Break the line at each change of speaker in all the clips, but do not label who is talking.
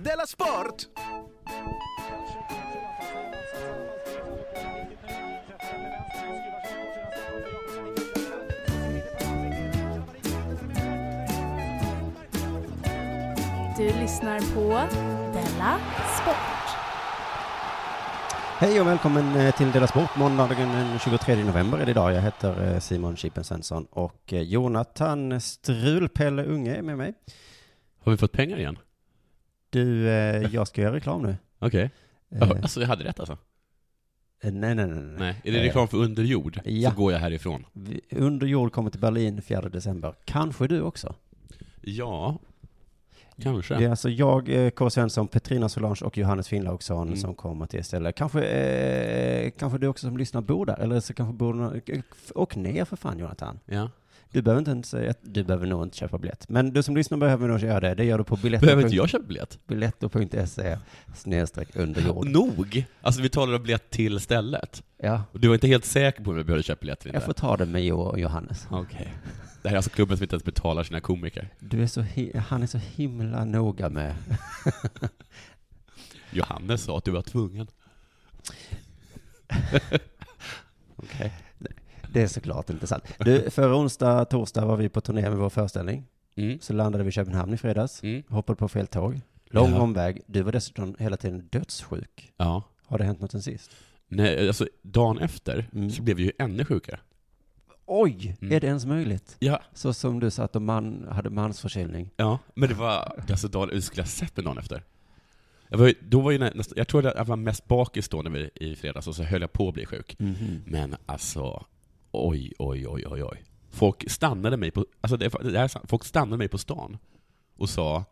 Della Sport!
Du lyssnar på Della Sport.
Hej och välkommen eh, till Dela Sport. Måndagen den 23 november är det idag. Jag heter eh, Simon Chippen Svensson och eh, Jonathan Strulpelle Unge är med mig.
Har vi fått pengar igen?
Du, eh, jag ska göra reklam nu.
Okej.
Eh,
Ja, Alltså, jag hade rätt alltså?
eh, nej, nej, nej. nej.
Nej. Är det
Eh,
reklam för underjord?
ja.
Så går jag härifrån.
Vi- Under jord kommer till Berlin 4 december. Kanske du också.
Ja. Kanske.
Det är alltså jag, eh, K. Svensson, Petrina Solange och Johannes Finnlaugsson
Mm.
som kommer till stället. Kanske, eh, kanske du också som lyssnar bor där, eller så kanske bor du nå- Åk ner för fan Jonathan.
Ja.
Du behöver inte ens säga att du behöver nog inte köpa biljett. Men du som lyssnar behöver nog göra det. Det gör du på biletto.
Behöver inte jag köpa biljett?
biletto.se snedstreck underjord.
Nog! Alltså vi talar om biljett till stället.
Ja,
Och du var inte helt säker på om jag behövde köpa biljett eller
jag
inte?
får ta det med Jo och Johannes.
Okej. Det här är alltså klubben som inte ens betalar sina komiker.
Du är så hi- han är så himla noga med.
Johannes sa att du var tvungen. Okej.
Det är såklart inte sant. Du, förra onsdag, torsdag var vi på turné med vår föreställning.
Mm.
Så landade vi i Köpenhamn i fredags.
Mm.
Hoppade på fel tåg. Lång
Ja.
omväg. Du var dessutom hela tiden dödssjuk.
Ja.
Har det hänt något sen sist?
Nej, alltså dagen efter
Mm.
så blev vi ju ännu sjukare.
Oj!
Mm.
Är det ens möjligt?
Ja.
Så som du sa att de man, hade mansförkylning.
Ja, men det var alltså dagen, du skulle ha sett mig dagen efter. Jag, var, ju- då var ju nä- nästan, jag tror att jag var mest bakis då när vi, i fredags, och så höll jag på att bli sjuk. Men alltså, oj, oj, oj, oj, oj. Folk stannade mig på, alltså det, det här, är sant, folk stannade mig på stan och sa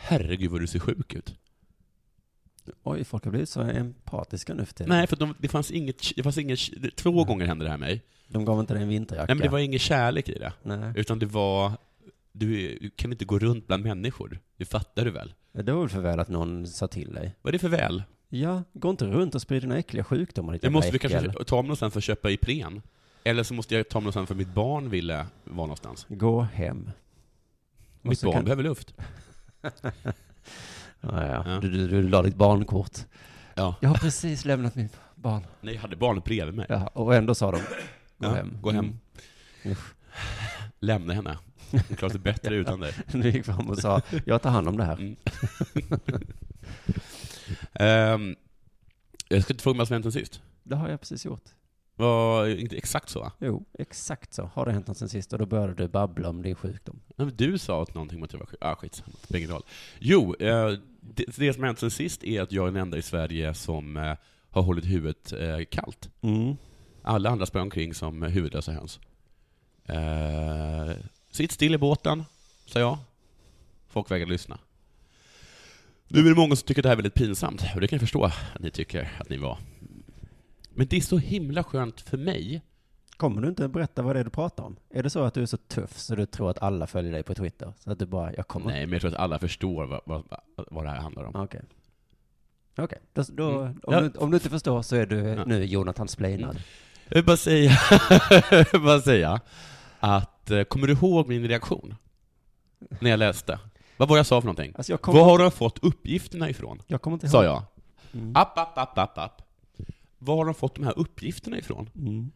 ”Herregud vad du ser sjuk ut”.
Oj, folk har blivit så empatiska nu för tiden.
Nej, för de, det Mm. fanns inget, det fanns inget, två gånger hände det här mig.
De gav inte dig en vinterjacka.
Nej men det var ingen kärlek i det,
Nej.
utan det var, du, är- du kan inte gå runt bland människor, det fattar du väl?
Det var väl för väl att någon sa till dig.
Vad är det för väl?
Ja, gå inte runt och sprid dina äckliga sjukdomar, ditt
Jag
jävla
måste vi
äckel.
kanske ta mig någonstans för att köpa Ipren. Eller så måste jag ta mig någonstans för mitt barn ville vara någonstans.
Gå hem. Och
Mitt
så
barn
kan-
behöver luft.
Ja, ja.
Ja.
Du, du, du la ditt barnkort.
Ja.
Jag har precis lämnat mitt barn.
Nej, jag hade barnet bredvid mig.
Ja, och ändå sa de, gå
Ja,
hem.
Gå hem.
Mm. Usch.
Lämna henne. Hon klarar sig bättre utan dig.
Du gick fram och sa, jag tar hand om det
Mm.
här.
Ehm, jag ska inte fråga mig vad som hänt sen sist.
Det har jag precis gjort.
Var inte exakt så va?
Jo, exakt så. Har det hänt något sen sist? Och då började du babbla om din sjukdom.
Nej, men Du sa att någonting om att jag var sjuk. Ah, skit. Det spelar ingen roll. Jo, eh, det, det som har hänt sen sist är att jag är den enda i Sverige som eh, har hållit huvudet eh, kallt. Alla andra sprang omkring som huvudlösa höns. Eh, sitt still i båten, sa jag. Folk vägrade lyssna. Nu är det många som tycker att det här är väldigt pinsamt, och det kan jag förstå att ni tycker att ni var. Men det är så himla skönt för mig.
Kommer du inte berätta vad det är du pratar om? Är det så att du är så tuff så du tror att alla följer dig på Twitter? Så att du bara, jag kommer
Nej, men jag tror att alla förstår vad, vad, vad det här handlar om.
Okej. Okej, då, då,
Mm.
om,
Ja.
du, om du inte förstår så är du
Ja. Mm.
nu Jonathan Splainad.
Jag vill bara säga, jag vill bara säga att, eh, kommer du ihåg min reaktion? När jag läste? Vad var jag sa för någonting?
Alltså jag
Var
kommer,
har de fått uppgifterna ifrån?
jag kommer inte ihåg.
Sa jag. Ah.
Mm.
App, app, app, app, app. Var har de fått de här uppgifterna ifrån?
Mm.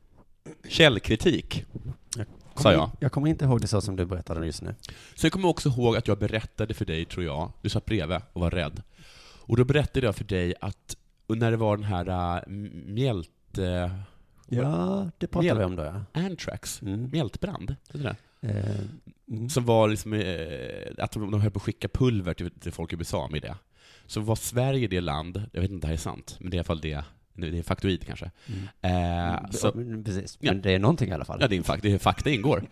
Källkritik,
Kommer
sa
in-
jag.
Jag kommer inte ihåg det så som du berättade just nu.
Så jag kommer också ihåg att jag berättade för dig, tror jag, du satt bredvid och var rädd. Och då berättade jag för dig att och när det var den här äh, mjält... Äh,
Ja, det pratade
Mjäl-
vi om då ja.
antrax?
Mm.
Mjältbrand? heter Det
Eh, mm.
Som var liksom, eh, att de, de höll på att skicka pulver till, till folk i USA med det. Så var Sverige det land, jag vet inte om det här är sant, men det är i alla fall det, det är faktoid kanske.
Mm.
Eh, så,
Ja, men precis,
Ja.
men det är någonting i alla fall.
Ja, det är en fakt, det är fakta ingår.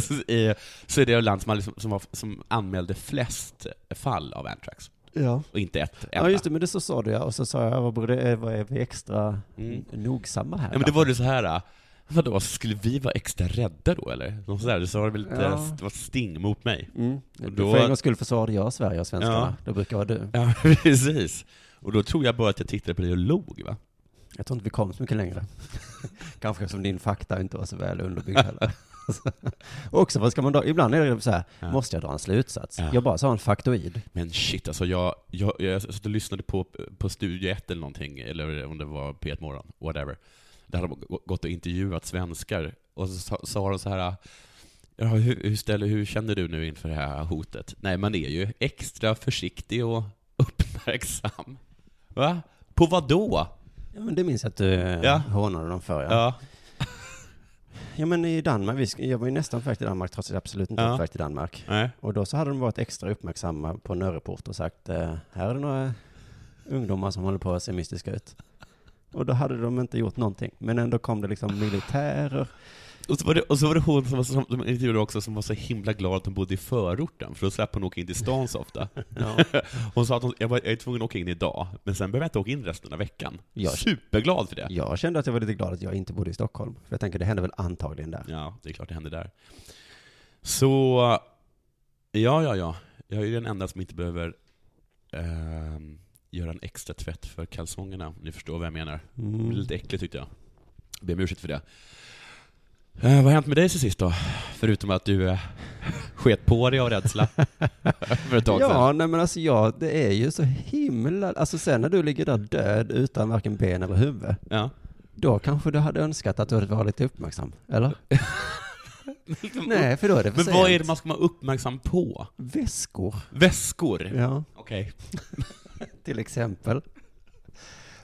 så är- så är det land som, har liksom, som, var, som anmälde flest fall av anthrax.
Ja.
Och inte ett enda.
ja, just det, men det så sa du ja. Och så sa jag, vad, borde, eh, vad är vi extra
Mm.
nogsamma här?
Ja, men det var det så här. äh, Vadå, skulle vi vara extra rädda då eller? Något sådär, så var det väl lite,
Ja.
det var ett sting mot mig.
Mm.
då-
För en gångs skull försvarade jag Sverige och svenskarna.
Ja.
Det brukar vara du.
Ja, precis. Och då tror jag bara att jag tittade på dig och log va?
Jag tror inte vi kom så mycket längre. Kanske som din fakta inte var så väl underbyggd heller. Också för ska man dra, ibland är det så här, måste jag dra en slutsats?
Ja.
Jag bara sa en faktoid.
Men shit alltså, jag, jag, jag satt och lyssnade på, på Studio 1 eller någonting, eller om det var P1 Morgon, whatever. Där hade de gå- gått och intervjuat svenskar, och så sa- sa de så här Ja, hur, hur, ställer, hur känner du nu inför det här hotet? Nej, man är ju extra försiktig och uppmärksam. Va? På vad då?
Ja, men det minns jag att du ja.
Ja.
hånade dem för, ja. ja. men i Danmark, vi, sk- jag var ju nästan på väg till Danmark, trots att jag absolut inte
Ja.
var på väg till Danmark.
Nej.
Och då så hade de varit extra uppmärksamma på Nörreport och sagt, eh, här är det några ungdomar som håller på att se mystiska ut. Och då hade de inte gjort någonting, men ändå kom det liksom militärer.
Och så, var det, och så var det hon som, var- som, som intervjuade också, som var så himla glad att hon bodde i förorten, för då slapp hon åka in till stan så ofta.
Ja.
Hon sa att hon, jag, var, jag är tvungen att åka in idag, men sen behöver jag inte åka in resten av veckan.
Ja.
Superglad för det.
Jag kände att jag var lite glad att jag inte bodde i Stockholm, för jag tänker det hände väl antagligen där.
Ja, det är klart det hände där. Så, ja, ja, ja. Jag är ju den enda som inte behöver ehm, göra en extra tvätt för kalsongerna, om ni förstår vad jag menar. Det
Mm.
blev lite äckligt tyckte jag. Ber om ursäkt för det. Eh, vad har hänt med dig sen sist då? Förutom att du eh, sket på dig av rädsla för ett tag sedan.
Ja, nej men alltså ja, det är ju så himla, alltså sen när du ligger där död utan varken ben eller huvud,
Ja.
då kanske du hade önskat att du hade varit lite uppmärksam, eller? nej, för då är det för
Men
sent.
vad är det man ska vara uppmärksam på?
Väskor,
Väskor?
ja,
Okej.
till exempel.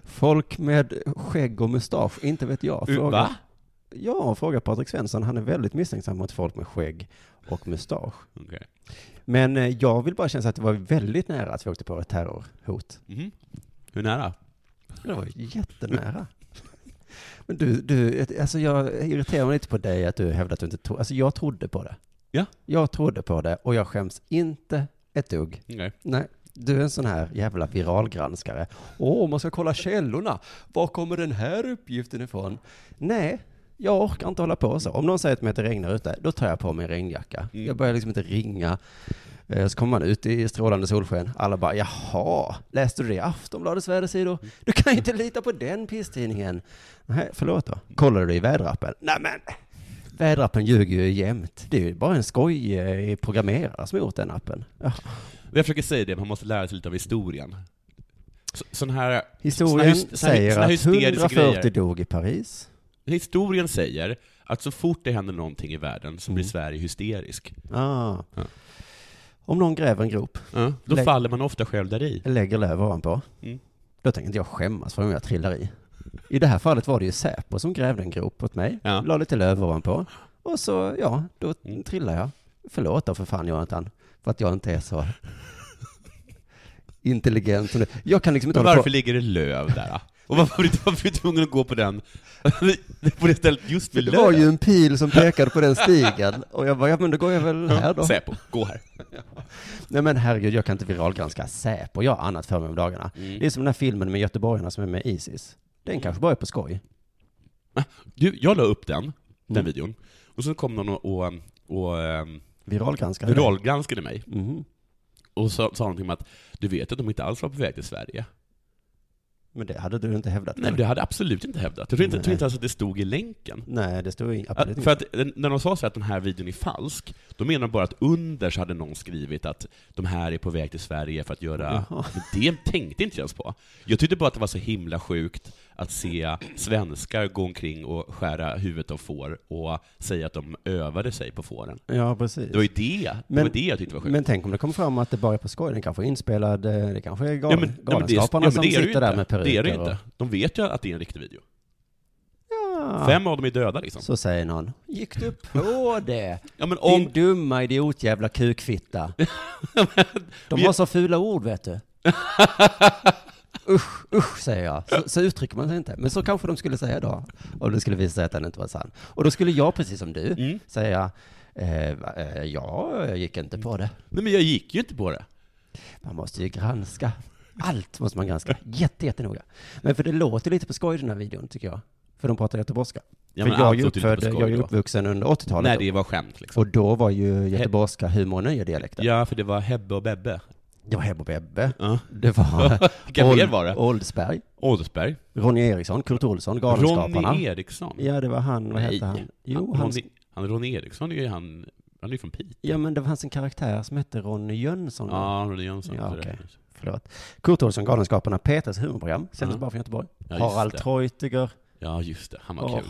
Folk med skägg och mustasch, inte vet jag.
U-
Fråga,
Va?
Ja, fråga Patrik Svensson, han är väldigt misstänksam mot folk med skägg och mustasch.
Okej.
Men eh, jag vill bara känna att det var väldigt nära att vi åkte på ett terrorhot.
Mhm. Hur nära?
Det var jättenära. Men du, du, alltså jag irriterar mig lite på dig att du hävdar att du inte trodde, alltså jag trodde på det.
Ja.
Jag trodde på det och jag skäms inte ett dugg.
Okej.
Nej, du är en sån här jävla viralgranskare. Åh, man ska kolla källorna. Var kommer den här uppgiften ifrån? Nej, jag orkar inte hålla på så. Om någon säger till mig att det regnar ute, då tar jag på mig en regnjacka.
Mm.
Jag börjar liksom inte ringa. Eh, Så kommer man ut i strålande solsken. Alla bara, jaha, läste du det i Aftonbladets vädersidor? Du kan ju inte lita på den pisstidningen. Nej, förlåt då. Kollade du i väderappen? Nej men, väderappen ljuger ju jämt. Det är ju bara en skoj eh, programmerare som har gjort den appen. Ja.
Jag försöker säga det, man måste lära sig lite av historien. Så, sån här, såna
Historien
hys- såna hy-
säger
såna
att
hysteriska
140
grejer.
dog i Paris.
Historien säger att så fort det händer någonting i världen så blir
Mm.
Sverige hysterisk.
Ah.
Ja.
Om någon gräver en grop,
Ja, då
Lägg-
faller man ofta själv där i.
lägger löv ovanpå,
Mm.
då tänker inte jag skämmas för om jag trillar i. I det här fallet var det ju Säpo som grävde en grop åt mig,
Ja.
la lite löv ovanpå, och så, ja, då
Mm.
trillar jag. Förlåt då för fan Jonathan, för att jag inte är så intelligent som du. Jag kan liksom inte
Men
hålla
varför
på.
ligger det löv där? då? Och varför, var du- varför är du tvungen att gå på den, på det stället just vid
Det var
löv?
ju en pil som pekade på den stigen, och jag bara, ja men då går jag väl här då.
Säpo, gå här.
Nej men herregud, jag kan inte viralgranska Säpo. Jag har annat för mig om dagarna. Det är som den här filmen med göteborgarna som är med i Isis. Den kanske bara är på skoj.
Du, jag la upp den, den
Mm.
videon, och så kom någon och, och, och ehm,
Viralgranskare.
viralgranskade mig,
Mhm.
och så sa någonting om att du vet att de inte alls var på väg till Sverige.
Men det hade du inte hävdat?
Nej,
eller?
det hade jag absolut inte hävdat. Jag tror inte, jag tror
Nej.
inte ens att det stod i länken.
Nej, det står ju absolut
Att,
inte.
för att eh, när de sa så här att den här videon är falsk, då menar de bara att under så hade någon skrivit att de här är på väg till Sverige för att göra...
Jaha.
Men det tänkte inte jag ens på. Jag tyckte bara att det var så himla sjukt att se svenskar gå omkring och skära huvudet av får och säga att de övade sig på fåren.
Ja, precis.
Det var ju det, det,
Men-
var det jag tyckte var sjukt.
Men tänk om det kommer fram att det bara är på skoj. Den kanske är inspelad, eh, det kanske är gal,
Ja, men- ja, men det-
Galenskaparna
ja, men
som
det är det ju
sitter där
inte.
med peruker.
Det är det ju
och-
inte. De vet ju att det är en riktig video.
Ja.
Fem av dem är döda liksom.
Så säger någon. Gick du på det?
Ja, men
Din
om,
dumma idiotjävla kukfitta. De har så fula ord, vet du. Usch, usch, säger jag. Så, så uttrycker man sig inte. Men så kanske de skulle säga då, om det skulle visa sig att den inte var sann. Och då skulle jag, precis som du,
Mm.
säga, eh, va- eh, jag gick inte på det.
nej, men jag gick ju inte på det.
Man måste ju granska. Allt måste man granska. Jätte, jättenoga. Men för det låter lite på skoj i den här videon, tycker jag. För de pratar göteborgska.
Ja,
för
men
jag, är
allt
ju
låter ju lite på
uppfödd,
skoj
jag är ju
då.
uppvuxen under 80-talet.
Nej, det var skämt liksom.
Och då var ju göteborgska humor och nya dialekter.
Ja, för det var Hebbe och Bebbe.
Det var Hebbe och Bebbe.
Ja.
Det var...
Vilka mer
Old-
var det?
Oldsberg.
Åldersberg.
Ronny Eriksson, Kurt Olsson, Galenskaparna.
Ronny Eriksson.
Ja, det var han, vad
Nej.
hette han? Jo,
Ronny-
han,
Han Ronny Eriksson är ju han, han är ju från Piteå.
Ja, men det fanns en karaktär som hette Ronny Jönsson.
Ja, Ronny Jönsson.
Ja,
så det
okej.
räknas.
Förlåt. Kurt Olsson, Galenskaparna, Peters humorprogram, sändes
Ja.
bara från Göteborg.
Ja, just
Harald
det.
Treutiger.
Ja, just det. Han var
Åh.
kul.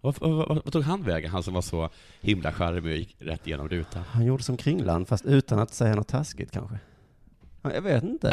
Vad, vad, vad, vad tog han vägen, han som var så himla charmig och gick rätt igenom rutan?
Han gjorde som Kringland, fast utan att säga något taskigt kanske. Ja, Jag vet inte.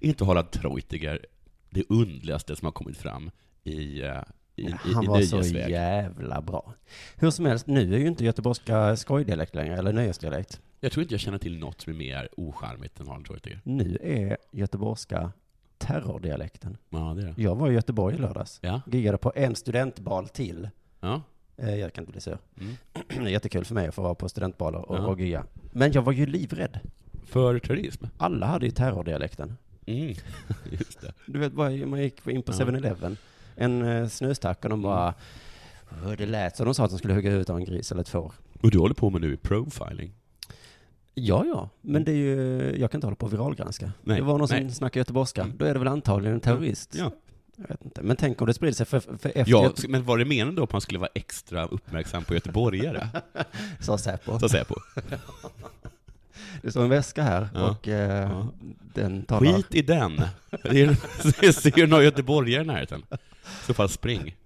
Är inte Harald Treutiger det undligaste som har kommit fram i, eh, i, i,
Han
i
var så
nöjesväg?
jävla bra. Hur som helst, nu är ju inte göteborgska skojdialekt längre, eller nöjesdialekt.
Jag tror inte jag känner till något som är mer ocharmigt än Harald Treutiger.
Nu är göteborgska terrordialekten.
Ja, det är det.
Jag var i Göteborg i lördags.
Ja,
Giggade på en studentbal till.
ja.
Eh, Jag kan inte bli sur.
Mm.
Det är jättekul för mig att få vara på studentbaler och,
Ja.
och gigga. Men jag var ju livrädd.
För terrorism?
Alla hade ju terrordialekten.
Mm. Just det.
Du vet, bara, man gick in på
Ja.
7-Eleven, en eh, snustack och de bara...
Mm.
"Åh, Det lät som de sa att de skulle hugga huvudet av en gris eller ett får.
Och du håller på med nu profiling?
Ja, ja, men det är ju, jag kan inte hålla på och viralgranska.
Nej,
Det var någon
nej. Mm.
som snackade göteborgska, då är det väl antagligen en terrorist. Jag vet inte. Men tänk om det sprider sig för, för efter
ja
Göte-
men var det meningen då på att man skulle vara extra uppmärksam på göteborgare?
sa Säpo.
Så att säga på.
Det står en väska här
Ja.
och eh,
Ja.
den talar...
Skit i den! Det är- Ser du några göteborgare i närheten? I så fall spring.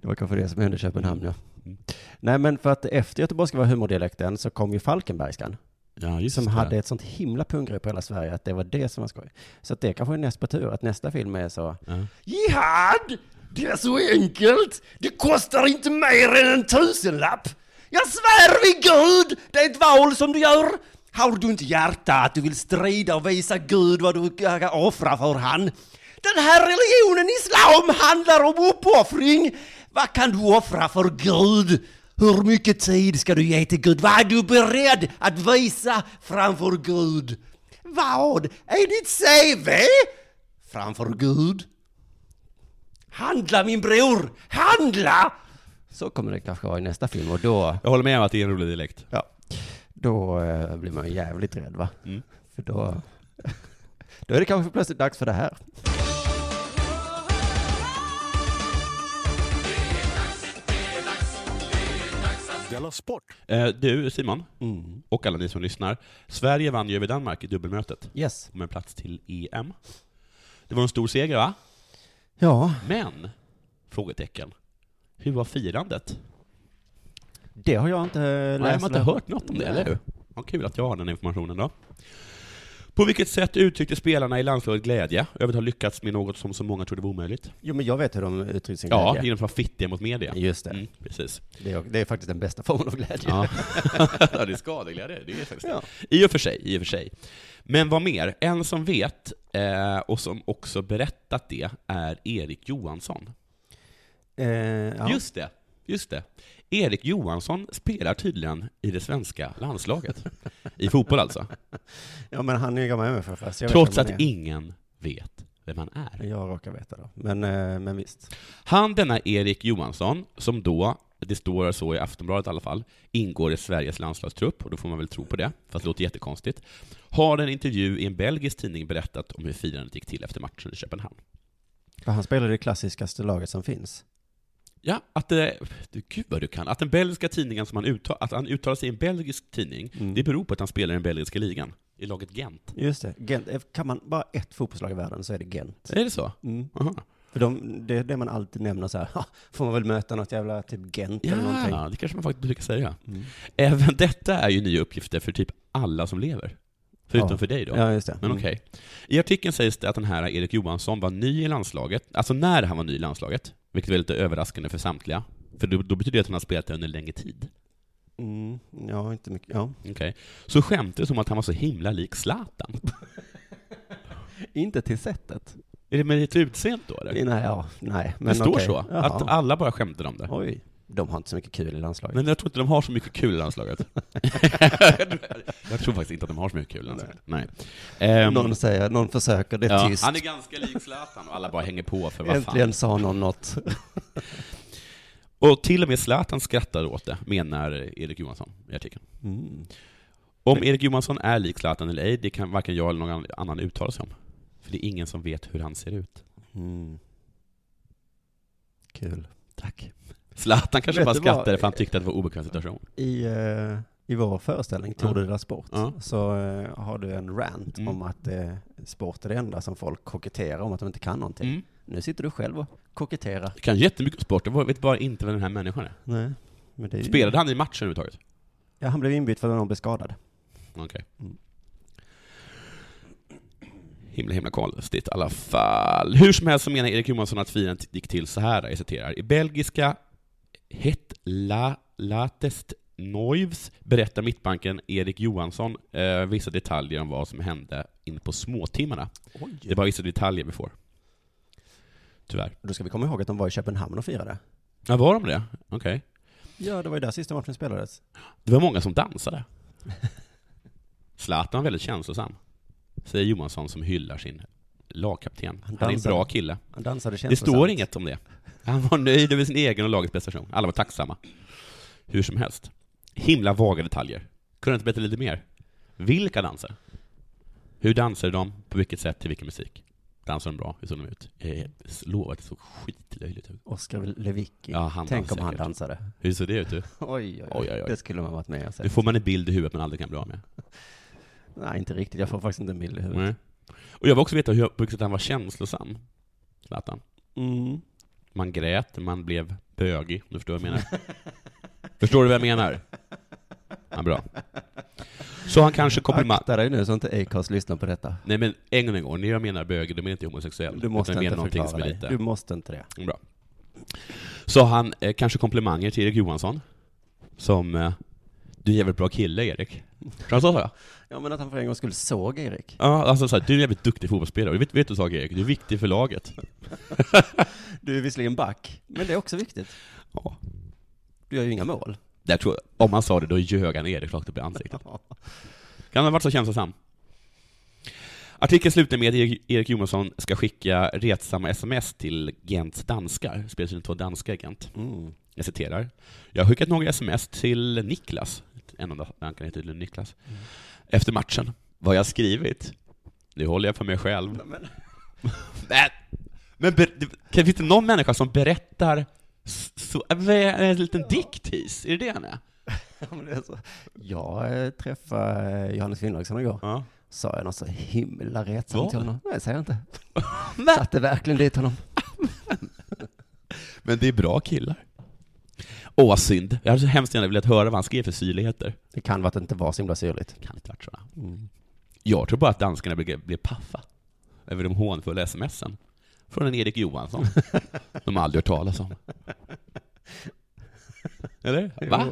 Det var kanske det som hände i Köpenhamn, ja.
Mm.
Nej, men för att efter göteborgska var humordialekten så kom ju falkenbergskan.
Ja, just
som
det.
hade ett sånt himla pungrepp på hela Sverige att det var det som var skoj. Så att det kanske är näst på tur, att nästa film är så
Ja.
Jihad! Det är så enkelt! Det kostar inte mer än en tusenlapp! Jag svär vid Gud, det är ett val som du gör! Har du inte hjärta att du vill strida och visa Gud vad du kan offra för han? Den här religionen islam handlar om uppoffring! Vad kan du offra för Gud? Hur mycket tid ska du ge till Gud? Vad är du beredd att visa framför Gud? Vad är ditt CV? Framför Gud? Handla min bror! Handla! Så kommer det kanske vara i nästa film och då,
Jag håller med om att det är en rolig dialekt.
ja, då eh, blir man jävligt rädd va?
Mm.
För då, då är det kanske plötsligt dags för det här.
Della Sport!
Eh, du, Simon,
Mm.
och alla ni som lyssnar. Sverige vann ju över Danmark i dubbelmötet
Yes.
om en plats till EM. Det var en stor seger, va?
Ja,
Men, frågetecken, hur var firandet?
det har jag inte läst.
Nej, man har inte
eller-
hört något om det, eller hur? Ja, kul att jag har den informationen då. På vilket sätt uttryckte spelarna i landslaget glädje över att ha lyckats med något som så många trodde var omöjligt?
Jo, men jag vet hur de uttrycker sin
Ja,
glädje.
genom att vara fittiga mot media.
Just det.
Mm, precis.
Det, är, det är faktiskt den bästa formen av glädje.
Ja, ja det är skadeglädje. Det är faktiskt
Ja.
det. I och för sig, i och för sig. Men vad mer? En som vet, eh, och som också berättat det, är Erik Johansson.
Eh, ja.
Just det, just det. Erik Johansson spelar tydligen i det svenska landslaget. I fotboll alltså.
ja, men han är ju gammal MFF. så jag vet
Trots
vem han
att
är.
ingen vet vem han är.
Jag råkar veta då. Men, eh, men visst.
Han, denna Erik Johansson, som då, det står så i Aftonbladet i alla fall, ingår i Sveriges landslagstrupp, och då får man väl tro på det, fast det låter jättekonstigt, har i en intervju i en belgisk tidning berättat om hur firandet gick till efter matchen i Köpenhamn.
För han spelar det klassiskaste laget som finns.
Ja, att det... Du, gud vad du kan. Att den belgiska tidningen som han uttalar, att han uttalar sig i en belgisk tidning, det beror på att han spelar i den belgiska ligan, i laget Gent.
Just det. Gent. Eh, Kan man bara ett fotbollslag i världen så är det Gent. Mm.
Är det så? Aha.
För de, det är det man alltid nämner så här, "Ha, får man väl möta något jävla typ Gent eller någonting.
Ja, Mm. det kanske man faktiskt brukar säga. Även detta är ju nya uppgifter för typ alla som lever. Förutom
Ja.
för dig då.
Ja, just det.
Men
Mm.
okej. I artikeln sägs det att den här Erik Johansson var ny i landslaget, alltså när han var ny i landslaget, vilket var lite överraskande för samtliga. För då, då betyder det att han har spelat där under en längre tid.
Mm, ja, inte mycket. Ja.
Okej. Så skämtades om att han var så himla lik Zlatan.
Inte till sättet.
Är det med ditt utseende då eller?
Nej, ja, nej. Men
det står
okej.
så.
Jaha.
Att alla bara skämtade om det.
Oj. De har inte så mycket kul i landslaget.
Men jag tror inte de har så mycket kul i landslaget. jag tror faktiskt inte att de har så mycket kul i landslaget. Nej. Ehm,
någon säger, någon försöker, det är
ja,
tyst.
han är ganska lik Zlatan och alla bara hänger på för vad fan.
Äntligen sa någon något.
Och till och med Zlatan skrattar åt det, menar Erik Johansson i artikeln.
Mm.
Om Erik Johansson är lik Zlatan eller ej, det kan varken jag eller någon annan uttala sig om. För det är ingen som vet hur han ser ut.
Mm. Kul.
Tack. Zlatan kanske
Vet
bara
du vad?
skrattade för han tyckte att det var obekväm situation.
I, eh, I vår föreställning, Tour de la Sport,
Ja.
så eh, har du en rant
Mm.
om att eh, sport är det enda som folk koketterar om att de inte kan någonting.
Mm.
Nu sitter du själv och koketterar.
Jag kan jättemycket om sport, jag vet bara inte vem den här människan är.
Nej, men det är ju...
Spelade han i matchen överhuvudtaget?
Ja, han blev inbytt för att någon blev skadad.
Okej.
Mm.
Himla, himla konstigt i alla fall. Hur som helst så menar Erik Johansson att firandet gick till så här, jag citerar. I belgiska Het La Latest Noivs berättar mittbanken Erik Johansson eh, vissa detaljer om vad som hände in på småtimmarna. Det är bara vissa detaljer vi får. Tyvärr.
Då ska vi komma ihåg att de var i Köpenhamn och firade.
Ja, var de det? Okej.
Ja, det var ju där sista matchen spelades.
Det var många som dansade. Zlatan var väldigt känslosam, säger Johansson som hyllar sin lagkapten. Han, är en
dansade.
bra kille.
Han dansade
Det
känslosamt.
står inget om det. Han var nöjd över sin egen och lagets prestation. Alla var tacksamma. Hur som helst. Himla vaga detaljer. Kunde inte berätta lite mer. Vilka danser? Hur dansade de? På vilket sätt? Till vilken musik? Dansade de bra? Hur såg de ut? Jag lovar att det såg skitlöjligt ut.
Oskar Lewicki.
Ja, han
Tänk
dansar
om han
säkert.
dansade.
Hur såg det ut? Du?
Oj, oj,
Oj,
oj,
oj, oj.
Det skulle man varit med och
Nu
sett.
får man en bild i huvudet man aldrig kan bli av med.
Nej, inte riktigt. Jag får faktiskt inte en bild i huvudet.
Nej. Och jag vill också veta hur, på vilket sätt han var känslosam, Zlatan.
Mm.
Man grät, man blev bögig, om du förstår vad jag menar. förstår du vad jag menar? Ja, bra. Så han kanske komplimang...
Akta dig nu så inte Acast lyssnar på detta.
Nej men en gång, en gång, när jag menar bög, då menar jag inte homosexuell.
Du måste
utan jag
inte
menar någonting
förklara
som är
dig.
lite... Mm,
Du måste inte det.
Bra. Så han, eh, kanske komplimanger till Erik Johansson, som... Eh, du är en jävligt bra kille, Erik. Tror han sa så?
Ja, men att han för en gång skulle såg Erik.
Ja, alltså så här, du är en jävligt duktig fotbollsspelare. Vet, vet du en sak, Erik? Du är viktig för laget.
Du är visserligen back, men det är också viktigt.
Ja.
Du gör ju inga mål.
Jag tror, om han sa det, då ljög han Erik rakt upp i ansiktet. Kan han ha varit så känslosam? Artikeln slutar med att Erik- Erik Johansson ska skicka retsamma sms till Gents danskar, spelas in två danskar i Gent.
Mm.
Jag citerar. Jag har skickat några sms till Niklas, en av dankarna heter tydligen Niklas, efter matchen. Vad har jag skrivit? Det håller jag för mig själv.
Men,
Men, men ber, det- kan- finns det någon människa som berättar s- så, en liten diktis? Är det det han är?
men det är så. Jag eh, träffade eh, Johannes Finnlaugsson igår.
Ja.
Sa jag något så himla
Vad?
retsamt till honom? Nej, säger jag inte.
Men,
Satte verkligen dit honom.
Men det är bra killar. Åh, vad synd. Jag hade så hemskt gärna velat höra vad han skrev för syrligheter.
Det kan vara att det inte var så himla syrligt.
Kan inte varit sådana. Jag tror bara att danskarna blev, blev paffa över de hånfulla smsen från en Erik Johansson de aldrig hört talas om. Eller? Va?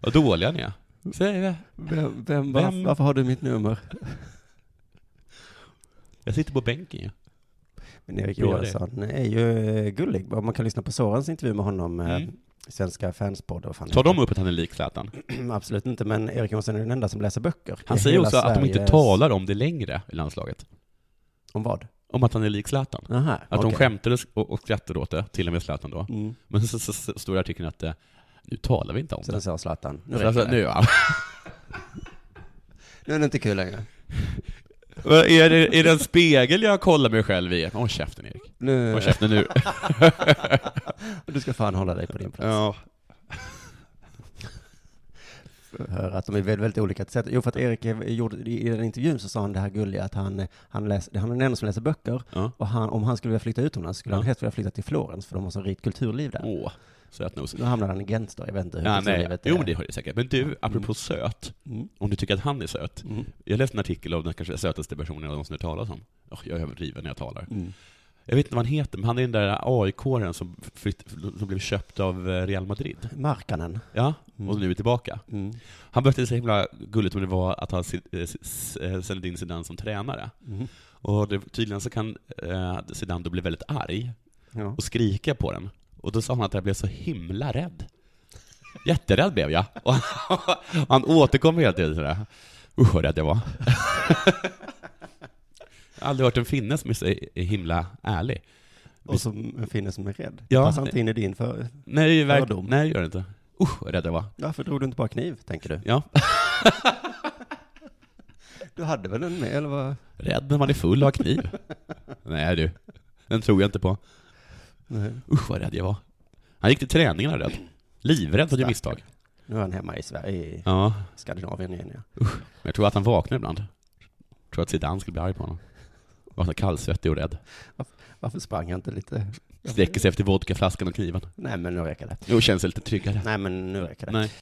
Vad dåliga ni är. Säg det.
Vem, vem,
Vem-
Varför har du mitt nummer?
Jag sitter på bänken ju.
Men Erik
Gör det.
Johansson är ju eh, gullig. Om Man kan lyssna på Sorens intervju med honom, eh,
Mm.
Svenska fanspodd och fan
Tar de upp att han är lik Zlatan?
Absolut inte, men Erik Johansson är den enda som läser böcker.
Han
i
säger
hela
också att de inte
Sveriges-
talar om det längre i landslaget.
Om vad?
Om att han är lik Zlatan.
Aha,
Att de
okej.
skämtade och, och skrattade åt det, till och med Zlatan då.
Mm.
Men så, så, så står det i artikeln att eh, nu talar vi inte om
Sen
det.
sa Zlatan, nu
Mm. Så jag sa,
räcker
nu,
det.
ja.
Nu är det inte kul längre.
Vad är, det, är det en spegel jag kollar mig själv i? Håll käften Erik.
Nu,
Håll käften nu.
du ska fan hålla dig på din plats.
Ja.
Hör att de är väldigt, väldigt olika till sätt. Jo, för att Erik är- gjorde, i den intervjun så sa han det här gulliga att han, eh, han, läs, han är den enda som läser böcker.
Ja.
Och han, om han skulle vilja flytta utomlands skulle han
Ja.
helst vilja flytta till Florens för de har så rikt kulturliv där.
Åh, sötnos.
Nu hamnar han i Mm. Gent då, jag vet inte hur
Ja, nej.
kulturlivet
Jo,
är.
det har du säkert. Men du, apropå söt,
Mm.
om du tycker att han är söt.
Mm.
Jag läste en artikel av den kanske sötaste personen jag någonsin hört talas om. Åh, jag överdriver när jag talar.
Mm.
Jag vet inte vad han heter, men han är den där AIK-aren som, flytt, som blev köpt av eh, Real Madrid.
Markkanen.
Ja,
Mm.
och nu är tillbaka.
Mm.
Han berättade så himla gulligt om det var att ha Sid- eh, S- eh, Zinedine Zidane som tränare.
Mm.
Och det, tydligen så kan eh, Zidane då bli väldigt arg
Ja.
och skrika på den. Och då sa han att jag blev så himla rädd. Jätterädd blev jag. Och han återkommer hela tiden sådär. Usch vad rädd jag var. jag har aldrig hört en finne som är så himla ärlig.
Och som en finne som är rädd.
Ja.
Passar inte in i din för...
Nej, verkligen.
Fördom.
Nej, det gör det inte. Usch vad rädd jag var.
Varför drog du inte bara kniv, tänker du?
Ja.
Du hade väl en med, eller vad?
Rädd när man är full och har kniv. Nej du, den tror jag inte på.
Nej.
Usch vad rädd jag var. Han gick till träningarna rädd. Livrädd för att göra misstag.
Nu är han hemma i Sverige, i
Ja.
Skandinavien igen ja.
Men jag tror att han vaknar ibland. Jag tror att Zidane skulle bli arg på honom. Vaknar kallsvettig och rädd.
Varför sprang han inte lite?
Sträcker sig efter vodkaflaskan och kniven.
Nej men nu räcker det.
Jo, känns lite tryggare.
Nej men nu räcker det.
Nej.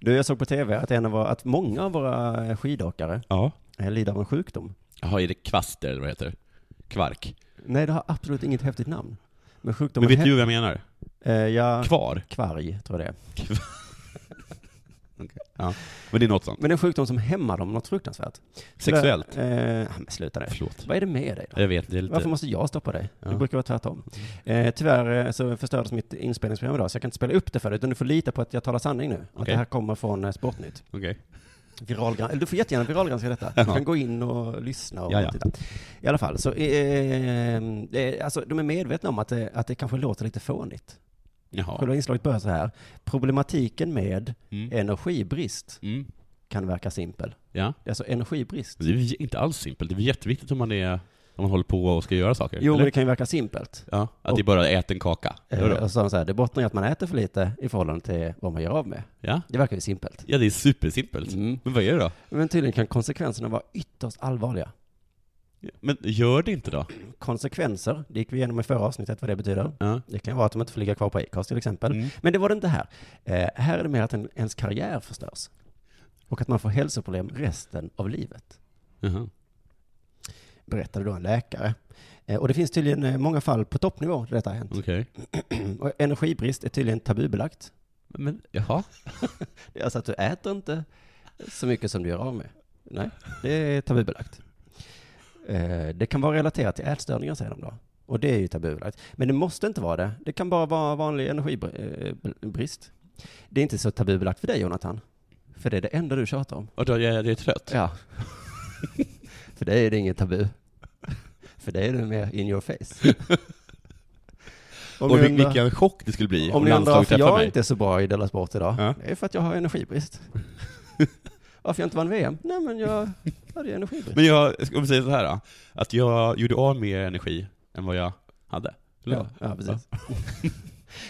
Du, jag såg på tv att, en av våra, att många av våra skidåkare
Ja.
eh, lider av en sjukdom.
Jaha, är det kvaster eller vad heter det? Kvark.
Nej, det har absolut inget häftigt namn. Men sjukdomen
Men vet
he-
du vad jag menar?
Eh, ja,
Kvar.
kvarg tror jag det är.
Men det är något sånt.
Men en sjukdom som hämmar dem något fruktansvärt.
Sexuellt.
Så, eh, men sluta nu.
Förlåt.
Vad är det med dig då?
Jag vet, det är lite...
Varför måste jag stoppa dig?
Ja. Mm.
Det brukar vara tvärtom. Eh, tyvärr eh, så förstördes mitt inspelningsprogram idag, så jag kan inte spela upp det för dig, utan du får lita på att jag talar sanning nu. Att
Okej.
det här kommer från eh, Sportnytt.
Okej.
Viralgran- eller du får jättegärna viralgranska detta. Du
Ja.
kan gå in och lyssna och
Ja, ja.
titta. I alla fall, så eh, eh, alltså, de är medvetna om att det, att det kanske låter lite fånigt.
Jaha.
Själva inslaget börjar så här. Problematiken med
Mm.
energibrist
Mm.
kan verka simpel.
Ja.
Alltså energibrist.
Det är ju inte alls simpelt. Det är jätteviktigt om man är... Om man håller på och ska göra saker.
Jo, men
eller?
det kan ju verka simpelt.
Ja. Att det är bara ät en kaka.
Eh,
Vadå?
och så, har de så här, det bottnar i att man äter för lite i förhållande till vad man gör av med.
Ja.
Det verkar ju simpelt.
Ja, det är supersimpelt.
Mm.
Men vad är det då?
Men tydligen kan konsekvenserna vara ytterst allvarliga.
Men gör det inte då?
Konsekvenser, det gick vi igenom i förra avsnittet vad det betyder.
Ja.
Det kan vara att de inte får ligga kvar på Acast till exempel.
Mm.
Men det var det inte här. Eh, här är det mer att en, ens karriär förstörs. Och att man får hälsoproblem resten av livet.
Mm. Jaha.
Berättade då en läkare. Eh, och det finns tydligen eh, många fall på toppnivå där detta har hänt.
Okej.
Och energibrist är tydligen tabubelagt.
Men, jaha.
Det är Alltså att du äter inte så mycket som du gör av med. Nej, det är tabubelagt. Eh, Det kan vara relaterat till ätstörningar säger de då. Och det är ju tabubelagt. Men det måste inte vara det. Det kan bara vara vanlig energibrist. Eh, Det är inte så tabubelagt för dig Jonathan. För det är det enda du tjatar om.
Och då är jag det är trött?
Ja. för dig är det inget tabu. För dig är det mer in your face. Om
och
ni
vil-
undrar-
vilken chock det skulle bli om,
om ni undrar
landslaget
varför
träffar
jag
mig.
inte är så bra i Della Sport idag,
Ja.
det är för att jag har energibrist. varför jag inte vann VM? Nej men jag hade ju energibrist.
Men jag, ska vi säga så här då? Att jag gjorde av mer energi än vad jag hade. Eller?
ja, ja, precis.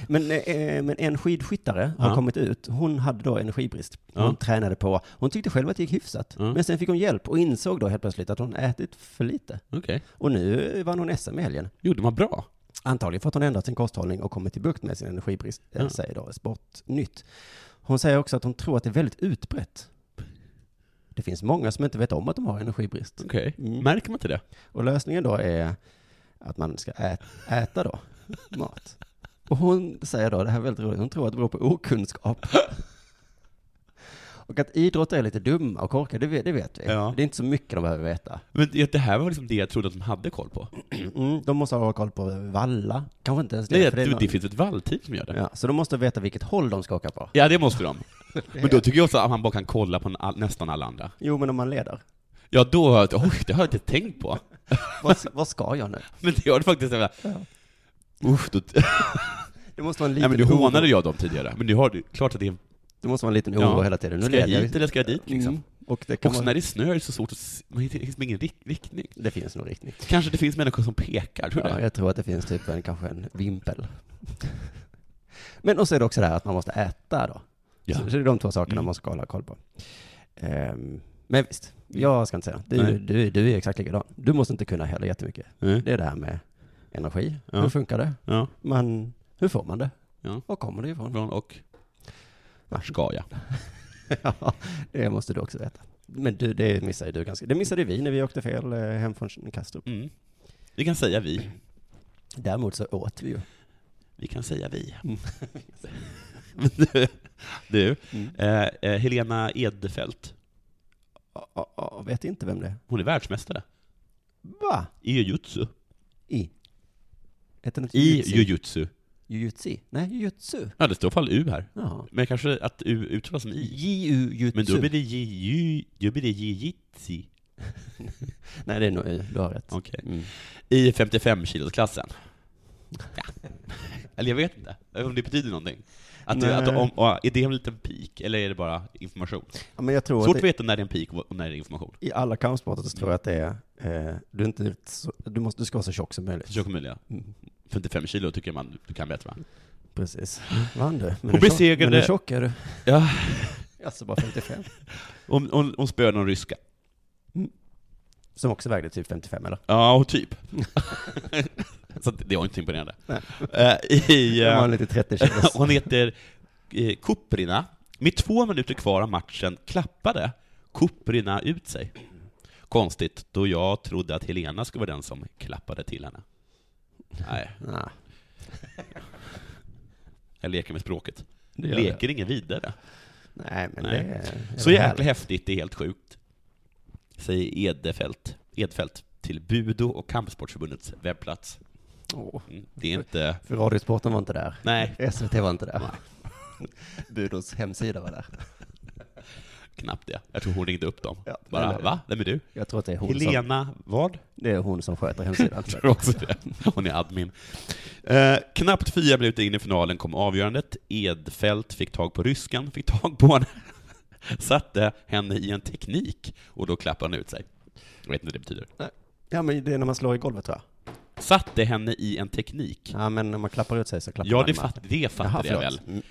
men, eh, men en skidskyttare
Ja.
har kommit ut, hon hade då energibrist. Hon
Ja.
tränade på, hon tyckte själv att det gick hyfsat.
Ja.
Men sen fick hon hjälp och insåg då helt plötsligt att hon ätit för lite.
Okej.
Och nu vann hon SM i helgen.
Gjorde man bra?
Antagligen för att hon ändrat sin kosthållning och kommit till bukt med sin energibrist, eh,
Ja.
säger då Sportnytt. Hon säger också att hon tror att det är väldigt utbrett. Det finns många som inte vet om att de har energibrist.
Okej.
Mm.
Märker man inte det?
Och lösningen då är att man ska ä- äta då, mat. Och hon säger då, det här är väldigt roligt, hon tror att det beror på okunskap. Och att idrottare är lite dumma och korkade, det vet, det vet vi.
Ja.
Det är inte så mycket de behöver veta.
Men det det här var liksom det jag trodde att de hade koll på.
Mm, de måste ha koll på valla, kanske inte ens det.
Det, det,
för är
det,
någon-
det finns ett vallteam som gör det. Ja.
Ja, så de måste veta vilket håll de ska åka på.
det måste de. Men då tycker jag också att man bara kan kolla på en all, nästan alla andra.
Jo, men om man leder.
Ja, då har jag, oj, det har jag inte tänkt på.
Vad, vad ska jag nu?
Men det har du faktiskt. Ja. Usch, då,
Det måste vara en
nej
liten
men nu
oro.
hånade jag dem tidigare. Men det har, det är klart att det är,
Det måste vara en liten oro
Ja.
hela tiden. Nu
ska jag
leder
hit eller ska jag dit liksom?
Mm. Och det kan
Också
vara-
när det är snö är det så svårt att se, man hittar liksom ingen rikt- riktning.
Det finns nog riktning.
Kanske det finns människor som pekar, tror du
Ja,
det?
jag tror att det finns typ en, kanske en vimpel. Men och så är det också det här att man måste äta då.
Ja.
Så, så det är de två sakerna
Mm.
man ska hålla koll på. Ehm, men visst, jag ska inte säga. Du,
Mm. Nej.
du, du är exakt likadan. Du måste inte kunna heller jättemycket.
Nej.
Det är det här med energi.
Ja.
Hur funkar det?
Mm. Ja.
Man, hur får man det?
Ja.
Var kommer det ifrån?
Från och ska jag.
Ja, det måste du också veta. Men du, det missade du ganska. Det missade vi när vi åkte fel eh, hem från Kastrup.
Mm. Vi kan säga vi.
Däremot så åt vi ju.
Vi kan säga vi. Men du- du, eh, eh, Helena Edfeldt,
Ja, ja, ja, vet inte vem det är.
hon är världsmästare
Va?
i jujutsu.
I? Heter den inte
I
jujutsu?
jujutsu.
Jujutsu? Nej, jujutsu.
Ja, det står i alla fall U här.
Jaha.
Men kanske att U uttalas som I.
Jujutsu.
Men då blir det ji- ju- då blir det jujitsu.
Nej, det är nog U. Du har rätt.
Okej.
Mm.
I 55-kilosklassen. Ja. Eller jag vet inte om det betyder någonting. Att, det- att
Nej.
om, och är det en liten peak, eller är det bara information?
Ja, men jag tror
Svårt
att
att
det,
veta när det är en peak och när det är information.
i alla kampsporter så tror jag att det är, eh, du, är inte, så- du, måste, du ska vara så tjock som möjligt.
Försök att möjliga.
Mm.
55 kilo tycker man du kan bättre va?
Precis. Vann du? Men
Hon
hur tjock-
besegrade-
Men hur tjock är du?
Ja.
Alltså bara 55.
Hon, hon, hon spöade någon ryska.
Som också vägde typ 55 eller?
Ja, och typ. Så att det var inte imponerande.
Nej.
Eh, I,
Ja.
eh,
De har lite 30 kilos.
Hon heter eh, Kuprina. Med två minuter kvar av matchen klappade Kuprina ut sig. Konstigt, då jag trodde att Helena skulle vara den som klappade till henne. Nej,
Nah,
jag leker med språket.
det gör
Leker ingen vidare.
Det. Nej, men
Nej.
det är...
Så jäkla häftigt, det är helt sjukt. Säger Edefelt, Edfelt till Budo och Kampsportsförbundets webbplats.
Åh,
Mm, Det är inte...
För Radiosporten var inte där.
Nej,
SVT var inte där. Budos hemsida var där.
knappt det. Jag tror hon ringde upp dem.
Ja,
Bara,
eller-
va? Vem är du?
Jag tror att det är hon, som,
Helena vad?
det är hon som sköter hemsidan.
Jag tror också det. Hon är admin. Eh, knappt fyra minuter in i finalen kom avgörandet. Edfält fick tag på ryskan, fick tag på henne, satte henne i en teknik och då klappade han ut sig. Jag vet inte vad det betyder.
ja, men det är när man slår i golvet tror jag.
Satte henne i en teknik.
Ja, men när man klappar ut sig så klappar
Ja,
man
det,
med.
fatt, det
Jaha,
fattar jag väl.
förlåt. Mm.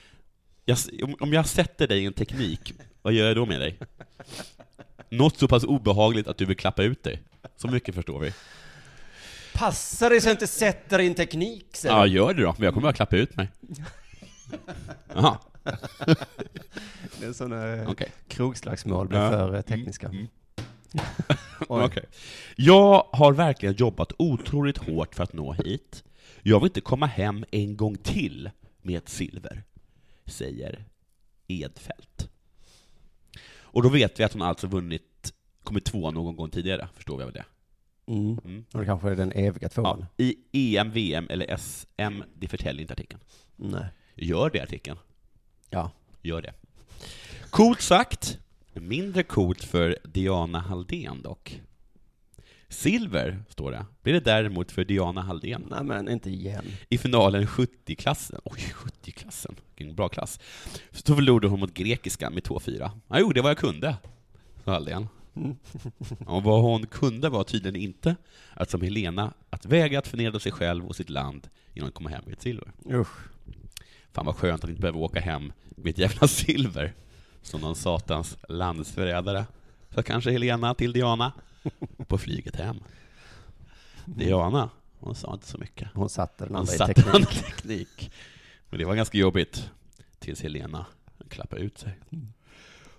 Jag, s- om- om jag sätter dig i en teknik, vad gör jag då med dig? Något så pass obehagligt att du vill klappa ut dig. Så mycket förstår vi.
Passa dig så jag inte sätter in teknik, säger
Ja,
du.
gör det då, men jag kommer bara klappa ut mig. Jaha,
Det är sådana eh,
okej.
krogslagsmål blir
Ja.
för eh, tekniska.
Mm, mm.
Oj.
Okej. Jag har verkligen jobbat otroligt hårt för att nå hit. Jag vill inte komma hem en gång till med ett silver, säger Edfält. Och då vet vi att hon alltså vunnit, kommit två någon gång tidigare, förstår vi av det.
Mm.
Mm.
Och det kanske är den eviga tvåan.
Ja, I E EM, VM eller SM, det förtäljer inte artikeln.
Nej.
Gör det artikeln.
Ja.
Gör det. Coolt sagt. Mindre coolt för Diana Halldén dock. Silver, står det, blir det däremot för Diana Halldén
Nej, men inte igen.
i finalen 70-klassen. Oj, 70-klassen. Vilken bra klass. Så förlorade hon mot grekiska med 2-4. Jag gjorde vad jag kunde, sa Halldén. Och vad hon kunde var tydligen inte att som Helena, att väga att förnedra sig själv och sitt land genom att komma hem med ett silver.
Usch.
Fan vad skönt att inte behöva åka hem med ett jävla silver som någon satans landsförrädare. Så kanske Helena till Diana på flyget hem. Diana, hon sa inte så mycket.
Hon satte den
Hon
andra i
satte
teknik.
en teknik. Men det var ganska jobbigt tills Helena klappade ut sig.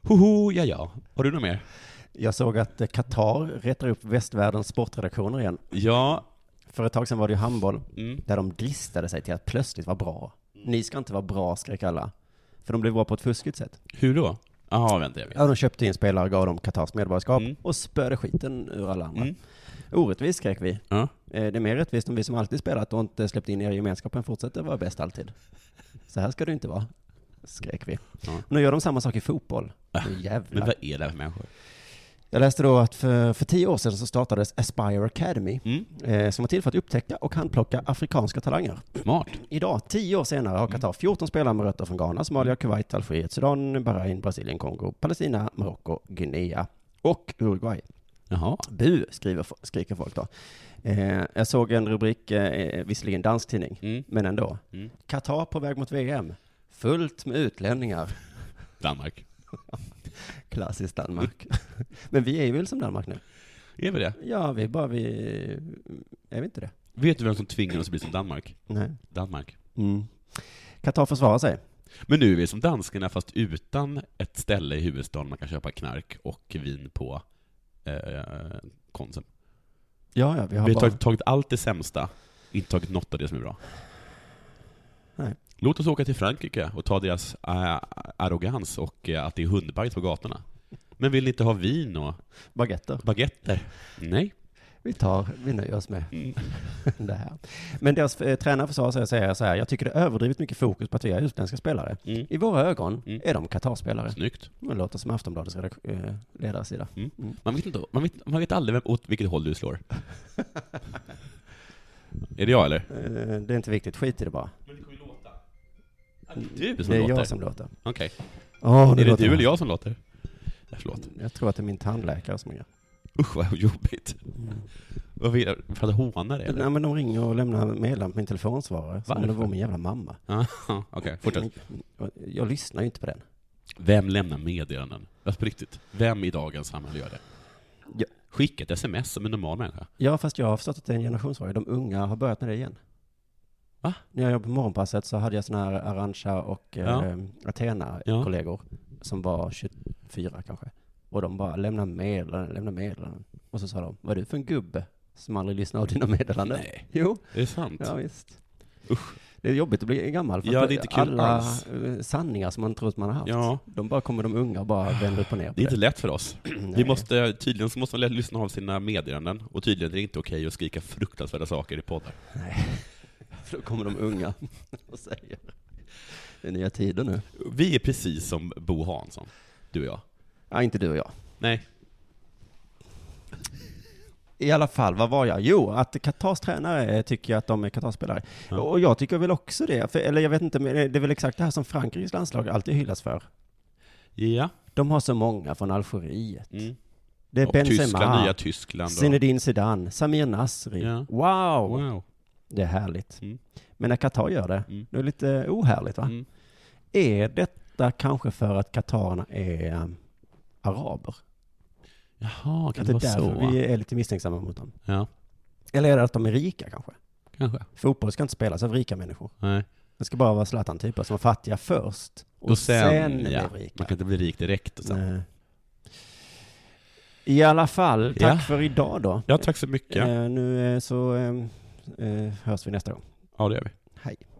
Hoho, ja ja. Har du något mer?
Jag såg att eh, Qatar retar upp västvärldens sportredaktioner igen.
Ja.
För ett tag sedan var det ju handboll,
Mm.
där de dristade sig till att plötsligt vara bra. Ni ska inte vara bra, skrek alla. För de blev bra på ett fuskigt sätt.
Hur då? Jaha, vänta jag vet.
Ja, de köpte in spelare, gav dem Qatars medborgarskap
Mm.
och spöade skiten ur alla andra.
Mm.
Orättvist skrek vi. Eh,
Ja.
Det är mer rättvist om vi som alltid spelat och inte släppt in er i gemenskapen fortsätter vara bäst alltid. Så här ska det inte vara, skrek vi.
Ja.
Nu gör de samma sak i fotboll.
Ah.
Nu
Men
jävlar.
vad är det här för människor?
Jag läste då att för, för tio år sedan så startades Aspire Academy,
Mm.
eh, som var till för att upptäcka och handplocka afrikanska talanger.
Smart.
Idag, tio år senare, har Qatar 14 spelare med rötter från Ghana, Somalia, Kuwait, Algeriet, Sudan, Bahrain, Brasilien, Kongo, Palestina, Marocko, Guinea och Uruguay.
Jaha.
Bu, skriver, skriker folk då. Eh, jag såg en rubrik, eh, visserligen dansk tidning,
Mm.
men ändå.
Mm.
Qatar på väg mot VM, fullt med utlänningar.
Danmark.
Klassiskt Danmark. men vi är ju väl som Danmark nu?
Är vi det?
Ja, vi är bara, vi... Är vi inte det?
Vet du vem som tvingar oss att bli som Danmark?
Nej.
Danmark.
Mm. Qatar försvarar sig.
Men nu är vi som danskarna fast utan ett ställe i huvudstaden man kan köpa knark och vin på eh, Konsum.
Ja, ja, vi har
Vi har
bara...
tagit, tagit allt det sämsta, inte tagit något av det som är bra.
Nej.
Låt oss åka till Frankrike och ta deras eh, arrogans och eh, att det är hundbajs på gatorna. Men vill ni inte ha vin och
baguetter.
baguetter? Nej.
Vi tar, vi nöjer oss med
Mm.
det här. Men deras eh, tränare försvarar sig och säger så här, jag tycker det är överdrivet mycket fokus på att vi är utländska spelare.
Mm.
I våra ögon
Mm.
är de Qatar-spelare.
Snyggt.
Det låter som Aftonbladets redakt- eh, ledarsida.
Mm.
Mm.
Man vet, inte, man vet, man vet aldrig vem, åt vilket håll du slår. är det jag eller?
Eh, det är inte viktigt, skit i det bara.
Men det kommer låta. Det är du som
Det är
låter.
jag som låter.
Okej.
Åh,
Är det du eller jag som låter? Nej, förlåt.
Jag tror att det är min tandläkare som gör.
Mm. Usch vad jobbigt. Vad vill jag? För att håna dig?
Nej
eller?
men de ringer och lämnar meddelande på min telefonsvarare. Som om det
Varför?
var min jävla mamma.
Ah, Okej, fortsätt.
Jag, jag lyssnar ju inte på den.
Vem lämnar meddelanden? Alltså på riktigt, vem i dagens samhälle gör det?
Ja.
Skicka ett sms som en normal människa.
Ja fast jag har förstått att det är en generationsfråga. De unga har börjat med det igen.
Va?
När jag jobbade på morgonpasset så hade jag såna här Arantxa och
Ja.
eh, Athena-kollegor. Som var 24 kanske. Och de bara lämna meddelanden, lämna meddelanden. Och så sa de, vad är du för en gubbe? Som aldrig lyssnar av dina meddelanden.
Nej.
Jo.
Det är sant.
Ja, visst. Det är jobbigt att bli gammal.
Ja,
att
det är inte kul
alla
alls.
eh, sanningar som man tror att man har haft,
Ja.
de bara kommer de unga och bara vänder upp och ner på
Det är inte
det.
lätt för oss. Vi
Nej.
måste, tydligen så måste man lä- lyssna av sina meddelanden, och tydligen är det inte okej att skrika fruktansvärda saker i poddar.
För då kommer de unga och säger det är nya tider nu.
Vi är precis som Bo Hansson, du och jag.
Ja, inte du och jag.
Nej,
I alla fall, vad var jag? Jo, att Qatars tränare tycker jag att de är Qatars spelare. Och jag tycker väl också det. För, eller jag vet inte, men det är väl exakt det här som Frankrikes landslag alltid hyllas för.
ja.
De har så många från Algeriet.
Mm.
Det är
Och
Benzema,
Tyskland, nya Tyskland. och-
Zinedine Zidane, Samir Nasri.
Ja.
Wow!
Wow.
Det är härligt.
Mm.
Men när Qatar gör det,
Mm.
det är lite ohärligt va?
Mm.
Är detta kanske för att katarerna är eh, araber?
Jaha, kan
Att
det,
det är
vara så?
därför vi är lite misstänksamma mot dem?
Ja,
Eller är det att de är rika kanske?
kanske.
Fotboll ska inte spelas av rika människor.
Nej.
Det ska bara vara Zlatan-typer som var fattiga först och,
Och sen,
sen,
ja.
blev rika.
Man kan inte bli rik direkt. Och sen.
Nej. I alla fall, tack
Ja.
för idag då.
Ja, tack så mycket.
Eh, nu eh, så eh, eh, hörs vi nästa gång.
Ja, det gör vi.
Hej.